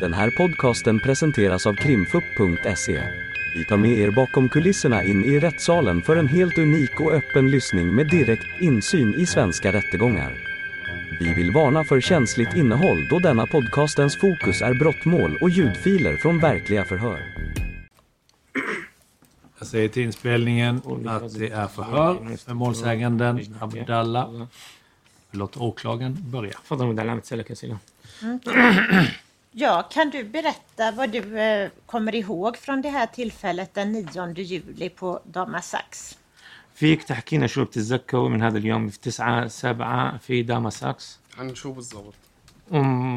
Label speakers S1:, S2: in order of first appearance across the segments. S1: Den här podcasten presenteras av krimfupp.se. Vi tar med er bakom kulisserna in i rättssalen för en helt unik och öppen lyssning med direkt insyn i svenska rättegångar. Vi vill varna för känsligt innehåll då denna podcastens fokus är brottmål och ljudfiler från verkliga förhör.
S2: Jag säger till inspelningen att det är förhör med målsäganden Abdallah. Låt åklagaren börja.
S3: تفضل مدعي العام تسألك أسئلة
S4: Ja, kan du berätta vad du eh, kommer ihåg från det här tillfället den 9 juli på Damasax?
S3: فيك تحكينا شو بتتذكروا من هذا اليوم في 9 7 في داماساكس
S5: عن شو بالضبط؟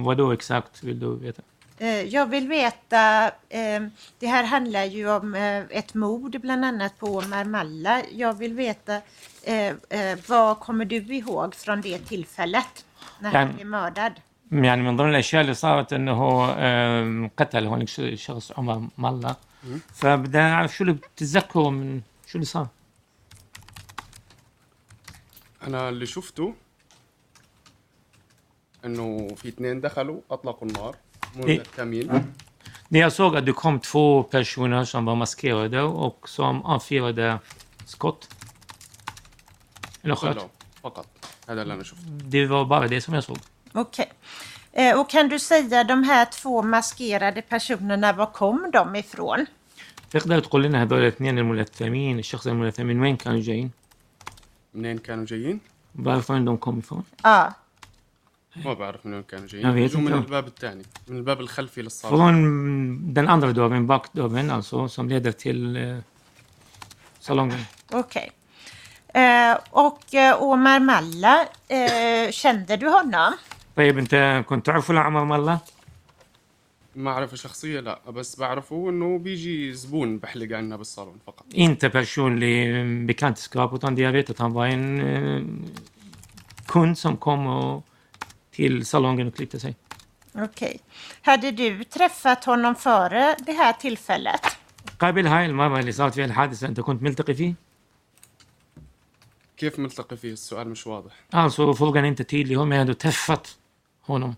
S3: ودو اكساكت بدو veta.
S4: Eh, Jag vill veta, eh, det här handlar ju om eh, ett mord bland annat på Omar Malla. Jag vill veta, eh, eh, vad kommer du ihåg från det tillfället när han
S3: Kan-
S4: blev mördad?
S3: يعني من ضمن الاشياء اللي صارت انه هو آم، قتل هونيك ش- شخص عمر ملا فبدي اعرف شو اللي بتتذكروا من شو اللي صار
S5: انا اللي شفته انه في اثنين دخلوا اطلقوا النار مو
S3: إيه.
S5: بالكامل
S3: När jag såg att det kom två personer som var maskerade och som avfyrade skott. Eller sköt.
S5: كلهم فقط هذا اللي انا شفته
S3: Det var bara det som jag såg.
S4: Okej. Eh, Och kan du säga de här två maskerade personerna, var kom de ifrån?
S3: تقدر تقول لنا هذول الاثنين الملثمين الشخص الملثمين وين كانوا جايين؟
S5: منين كانوا جايين؟
S3: بعرف وين بدهم كوم يفون؟
S4: Ja.
S5: ما بعرف من وين كانوا
S3: إيه. أنا
S5: جايين
S3: بيت
S5: اجوا من
S3: الجو.
S5: الباب الثاني من الباب الخلفي للصالة
S3: Från den andra dörren, bakdörren alltså, som leder till eh, salongen.
S4: Okej. Eh, och eh, Omar Malla, eh, kände du honom?
S3: طيب انت كنت تعرفه لعمر ملا؟
S5: ما اعرف شخصية لا بس بعرفه انه بيجي زبون بحلق عنا بالصالون فقط
S3: Inte personlig eh, bekantskap utan jag vet att han var en eh, kund som kom och, till salongen och klippte sig.
S4: Okej. Hade du träffat honom före det här tillfället?
S3: قبل هاي المرة اللي صارت فيها الحادثة انت كنت ملتقي فيه؟
S5: كيف ملتقي فيه السؤال مش واضح
S3: Alltså frågan är inte tydlig, hon menar du träffat honom?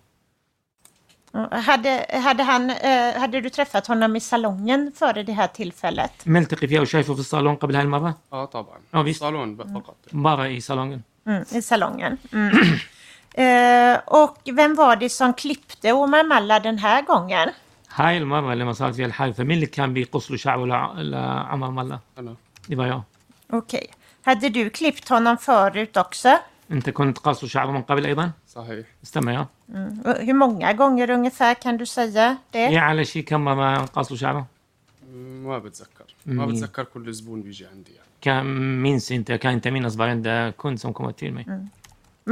S4: Mm, Hade, hade, han, eh, hade du träffat honom i salongen före det här tillfället?
S3: ملتقي فيها وشايفه في الصالون قبل هاي المرة؟
S5: اه طبعا
S3: آه، بيس-
S5: الصالون ب- فقط
S3: مرة i salongen.
S4: Mm, I salongen. Mm. Eh, och vem var det som klippte Omar Malla den här gången?
S3: هاي المرة لما صارت فيها الحادثة مين اللي كان بيقص له شعره لع- لعمر الله؟
S5: انا
S3: Det var jag.
S4: Okej. Hade du klippt honom förut också?
S3: انت كنت قاص له شعره من قبل ايضا؟
S5: صحيح
S3: استمع يا
S4: Mm. Och Hur många gånger ungefär kan du säga det?
S3: ايه على شيء كم مرة قاص له شعره؟
S5: ما بتذكر ما
S3: مم.
S5: بتذكر كل زبون بيجي عندي يعني
S3: كان minns inte, kan inte minnas varenda kund som kommer till mig.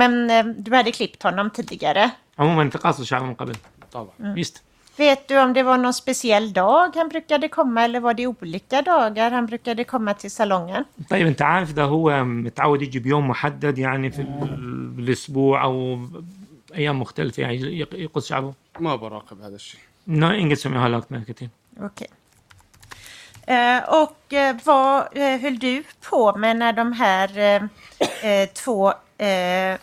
S4: Men eh, du hade klippt honom tidigare.
S3: عموما انت قاص له شعره من قبل.
S5: طبعا
S3: Visst.
S4: Vet du om det var någon speciell dag han brukade komma eller var det olika dagar han brukade komma till salongen?
S3: طيب انت عارف ده هو متعود يجي بيوم محدد يعني في ال- الاسبوع او ايام مختلفه يعني يق- يقص شعره.
S5: ما براقب هذا الشيء
S3: No, inget som jag har lagt märke till.
S4: Okej. Eh, och eh, vad eh, höll du på med när de här eh, eh, två eh,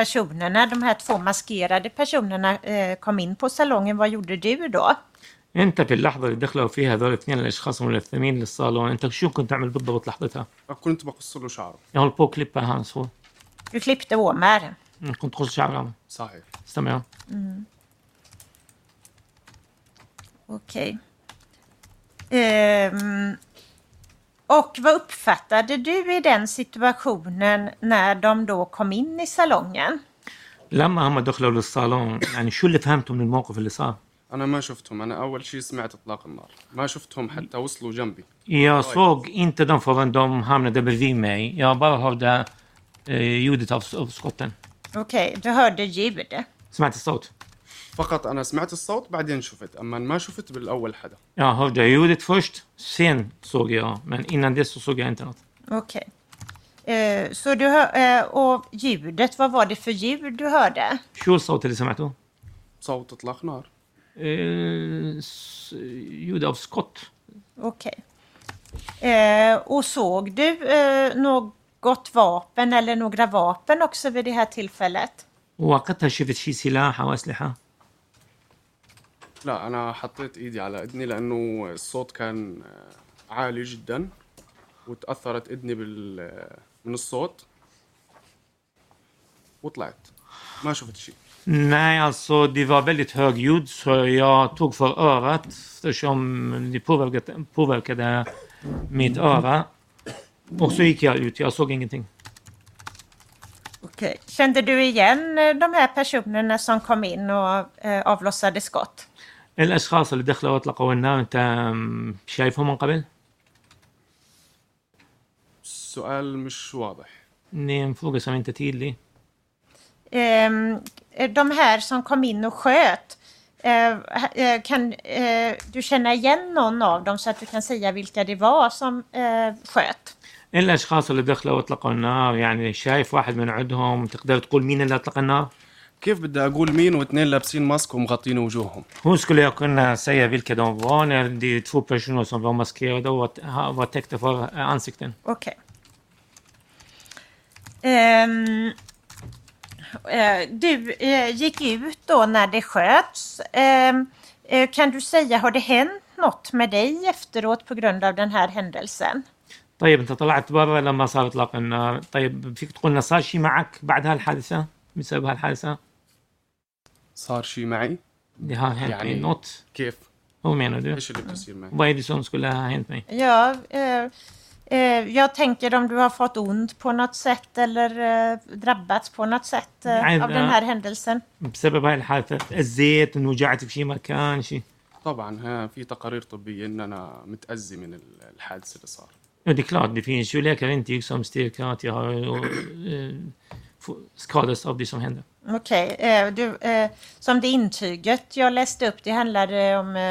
S4: personerna, de här två maskerade personerna eh, kom in på salongen? Vad gjorde du då?
S3: انت في اللحظه اللي دخلوا فيها هذول الاثنين الاشخاص الملثمين للصالون انت شو كنت تعمل بالضبط لحظتها؟ يعني
S5: كنت بقص له شعره
S3: Jag håller på att klippa hans hår.
S4: Du klippte Omar.
S3: Mm, Kont قص شعره
S5: صحيح
S3: استمع يا.
S4: Okej. Ehm, och vad uppfattade du i den situationen när de då kom in i salongen?
S3: لما هم دخلوا للصالون يعني شو اللي فهمته من الموقف اللي صار؟
S5: انا ما شفتهم انا اول شيء سمعت اطلاق النار ما شفتهم حتى وصلوا جنبي
S3: Jag såg inte dem förrän de hamnade bredvid mig. Jag bara hörde eh, ljudet av, av skotten.
S4: Okej, du hörde ljud.
S3: سمعت الصوت.
S5: فقط انا سمعت الصوت بعدين شفت اما ما شفت بالاول حدا
S3: Jag hörde ljudet först, sen såg jag. Men innan det så såg jag inte något.
S4: Okej. Eh, så du hör, eh, och ljudet, vad var det för ljud du hörde?
S3: شو الصوت اللي سمعته؟
S5: صوت اطلاق نار
S3: Eh, s- ljud av skott.
S4: Okej. Eh, och såg du eh, något vapen eller några vapen också vid det här tillfället?
S3: وقتها شفت شي سلاح او اسلحه
S5: لا انا حطيت ايدي على اذني لانه الصوت كان آه، عالي جدا وتاثرت اذني بال آه، من الصوت وطلعت ما شفت شيء
S3: Nej, alltså det var väldigt högljudd så jag tog för örat eftersom det påverkade, påverkade mitt öra. Och så gick jag ut, jag såg ingenting.
S4: Okej. Kände du igen eh, de här personerna som kom in och eh, avlossade skott?
S3: الأشخاص اللي دخلوا وأطلقوا النار أنت أم، شايفهم من قبل؟
S5: السؤال مش واضح
S3: Det är en fråga som inte är tydlig.
S4: Ehm, de här som kom in och sköt, eh, ha- eh, kan eh, du känna igen någon av dem så att du kan säga vilka det var som eh, sköt?
S3: الأشخاص اللي دخلوا وأطلقوا النار يعني شايف واحد من عندهم تقدر تقول مين اللي أطلق النار؟
S5: كيف بدي اقول مين واثنين لابسين ماسك ومغطين وجوههم
S3: Hur skulle jag kunna säga vilka de var när det är två personer som var maskerade och var- var täckta för eh, ansikten?
S4: Okej. Ehm, eh, du eh, gick ut då när det sköts. Ehm, eh, kan du säga, har det hänt något med dig efteråt på grund av den här händelsen?
S3: طيب انت طلعت برا لما صار اطلاق النار طيب فيك تقول لنا صار شيء معك بعد هالحادثه بسبب هالحادثه
S5: صار شيء معي
S3: Det har hänt
S5: يعني-
S3: mig något.
S5: كيف
S3: Vad menar du?
S5: ايش اللي بتصير معي
S3: Vad är det som skulle ha hänt mig?
S4: Ja, eh, eh, jag tänker om du har fått ont på något sätt eller eh, drabbats på något sätt eh,
S3: Nej,
S4: av
S3: det-
S4: den här händelsen.
S3: بسبب هاي الحادثه تاذيت انوجعت في شيء مكان شيء
S5: طبعا ها في تقارير طبيه ان انا متاذي من ال- الحادث اللي صار
S3: Ja, det är klart, det finns ju läkare intyg som styrker att jag har eh, få- skadats av det som hände.
S4: Okej, eh, du, eh, som det intyget jag läste upp, det handlade om eh,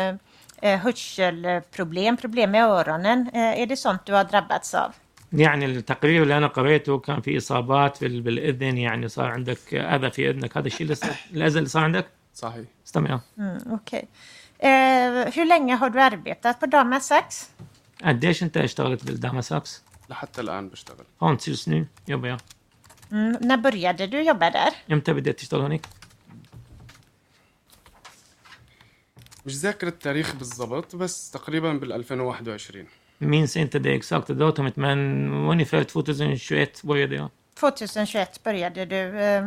S4: eh, hörselproblem, problem med öronen. Eh, är det sånt du har drabbats av?
S3: يعني التقرير اللي انا قريته كان في اصابات في ال- بالاذن يعني صار عندك اذى في اذنك هذا الشيء اللي صار الاذى اللي صار عندك
S5: صحيح
S3: استمع
S4: Mm, Okej. Eh, hur länge har du arbetat på Damasax?
S3: قديش انت اشتغلت بالداماسابس؟
S5: لحتى الان بشتغل
S3: هون تصير سنين يابا يا
S4: Mm, när började du jobba där?
S3: امتى بدأت تشتغل هناك؟
S5: مش ذاكر التاريخ بالضبط بس تقريبا بال 2021
S3: Minns inte det exakta datumet men ungefär 2021 började jag.
S4: 2021 började du. eh,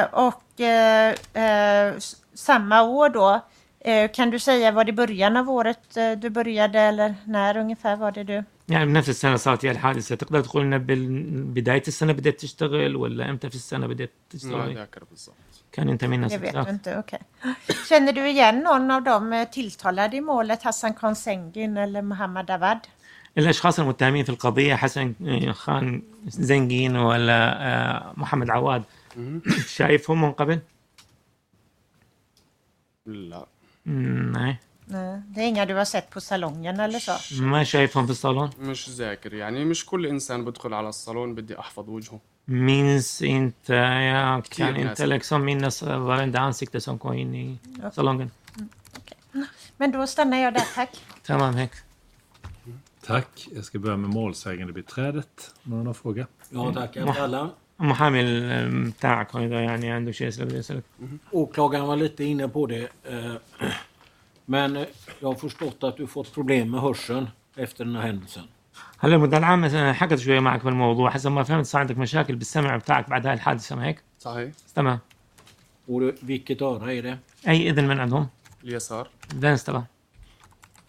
S4: eh, Och eh, eh, s- samma år då, eh, kan du säga var det början av året eh, du började eller när ungefär var det du?
S3: يعني بنفس السنة صارت هي الحادثة تقدر تقول إن بداية السنة بدأت تشتغل ولا امتى في السنة بدأت
S5: ما
S3: تشتغل؟
S5: ذاكر بالضبط
S3: كان انت من
S4: Det vet du inte, okej. Känner du igen någon av de eh, tilltalade i målet, Hassan Konsengin eller Mohammad Awad?
S3: الأشخاص المتهمين في القضية حسن خان زنجين ولا آه، محمد عواد شايفهم من قبل؟
S5: لا
S3: مم، نعم.
S4: Nej, det är inga du har sett på salongen eller så?
S3: ما شايفهم في الصالون؟
S5: مش ذاكر يعني مش كل انسان بدخل على الصالون بدي احفظ وجهه
S3: Minns inte. Jag kan
S5: Tydligen
S3: inte
S5: alltså.
S3: liksom minnas varenda ansikte som kom in i salongen.
S4: Men då stannar jag där, tack.
S3: Tamam hek.
S2: Tack. Jag ska börja med målsägandebiträdet. Om någon har någon fråga?
S6: Ja, tack. Efter alla.
S3: محامي ال- آه، بتاعك هذا يعني عنده شيء اسئله بدي اسالك
S6: Åklagaren var lite inne på det. eh, Men eh, jag har förstått att du fått problem med hörseln efter den här händelsen.
S3: هلا المدعي العام مثلا حكت شويه معك في الموضوع حسب ما فهمت صار عندك مشاكل بالسمع بتاعك بعد هاي الحادثه ما هيك؟
S5: صحيح
S3: تمام
S6: Och du- vilket öra är det?
S3: اي اذن من عندهم؟
S5: اليسار
S3: فينسترا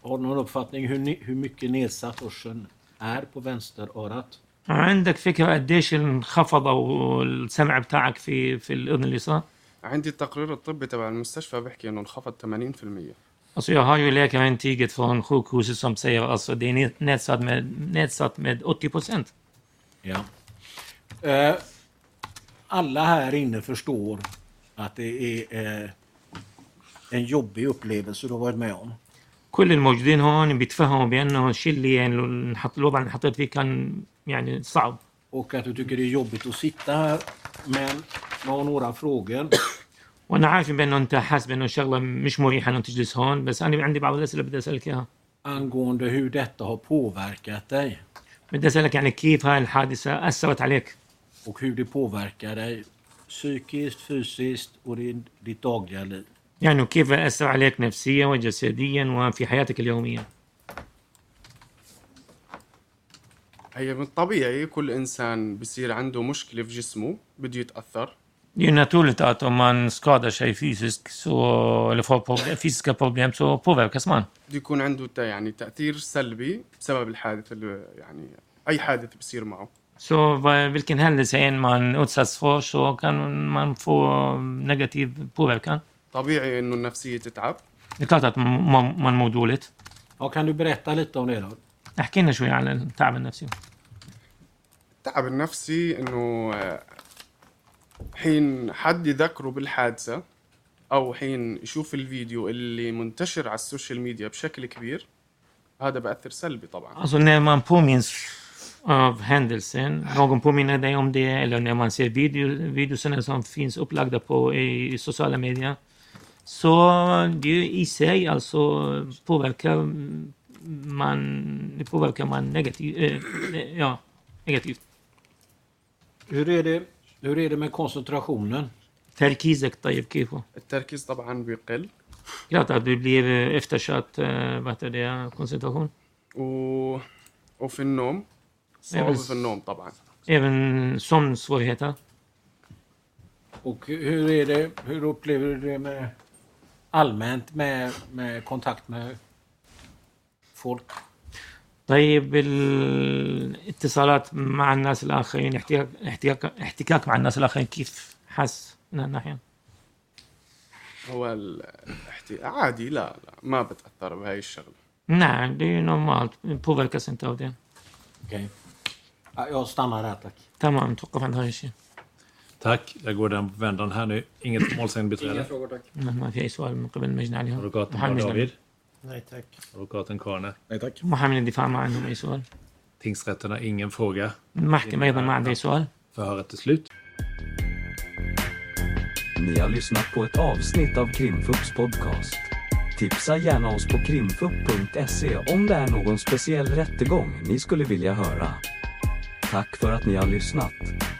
S6: Har du någon uppfattning hur, ni- hur mycket nedsatt hörseln är på vänsterörat?
S3: عندك فكره قديش انخفض السمع بتاعك في في الاذن اليسرى؟
S5: عندي التقرير الطبي تبع المستشفى بحكي انه انخفض 80%
S3: Alltså jag har ju läkarintyget från sjukhuset som säger alltså det är ned- nedsatt med, nedsatt med 80 procent.
S6: Ja. Eh, alla här inne förstår att det är eh, en jobbig upplevelse du har varit med om.
S3: كل الموجودين هون بيتفهموا بانه الشيء اللي يعني لو انحط- الوضع اللي انحطيت فيه كان يعني صعب
S6: Och att du tycker det är jobbigt att sitta här. Men jag har några frågor.
S3: وانا عارف بانه انت حاسس بانه شغله مش مريحه انه تجلس هون بس انا عندي بعض الاسئله بدي اسالك اياها
S6: angående hur detta har påverkat dig
S3: بدي اسالك يعني كيف هاي الحادثه اثرت عليك
S6: och hur det påverkar dig psykiskt, fysiskt och din, ditt dagliga liv.
S3: يعني كيف أثر عليك نفسيا وجسديا وفي حياتك اليومية
S5: هي من الطبيعي كل انسان بصير عنده مشكله في جسمه بده يتاثر
S3: Det är ju naturligt att om man skadar sig fysiskt så, eller får problem, fysiska problem så påverkas man.
S5: بده يكون عنده تا- يعني تاثير سلبي بسبب الحادث اللي يعني اي حادث بصير معه
S3: Så vad- vilken händelse än man utsatts för så kan man få negativ påverkan.
S5: طبيعي انه النفسيه تتعب
S3: Det är klart att man, man mår dåligt.
S6: Ja, kan du berätta lite om det då?
S3: احكي لنا شوي عن تعب النفسي
S5: التعب النفسي انه آه، حين حد يذكره بالحادثه او حين يشوف الفيديو اللي منتشر على السوشيال ميديا بشكل كبير هذا بأثر سلبي طبعا
S3: Alltså när man påminns av händelsen, någon påminner dig om det eller när man ser video, videorna som finns upplagda på i, i sociala medier. Så det i sig alltså påverkar man, det påverkar man negativt. Eh, ja, negativt.
S6: Hur är det, hur är det med koncentrationen?
S3: تركيزك طيب كيفه؟
S5: التركيز طبعا بيقل
S3: Klart att du blir eh, eftersatt, eh, vad heter det, koncentration.
S5: و... وفي النوم صعوبه
S3: بس-
S5: في النوم طبعا
S3: Även sömnsvårigheter.
S6: Och hur, är det, hur upplever du det med, allmänt med, med kontakt med folk?
S3: طيب الاتصالات مع الناس الاخرين احتكاك احتكاك احتكاك مع الناس الاخرين كيف حس نعم، من هالناحيه؟
S5: هو الاحتي... عادي لا لا ما بتاثر بهاي الشغله
S3: نعم دي نورمال بوفركاس انت ودي
S6: Okej. Ja, jag stannar här tack.
S3: تمام توقف عند هذا الشيء
S2: Tack. Jag går den vändan här nu. Inget målsägandebiträde.
S3: ما نعم، ما في اي سؤال من قبل المجني عليهم
S2: Advokaten
S3: محامي
S2: har
S3: المجني
S2: David.
S7: Nej tack.
S2: Advokaten Karne.
S7: Nej tack.
S3: محامي الدفاع ما عندهم اي سؤال
S2: Tingsrätten har ingen fråga.
S3: المحكمه ايضا ما عندها اي سؤال
S2: Förhöret är slut.
S1: Ni har lyssnat på ett avsnitt av Krimfupps podcast. Tipsa gärna oss på krimfupp.se om det är någon speciell rättegång ni skulle vilja höra. Tack för att ni har lyssnat.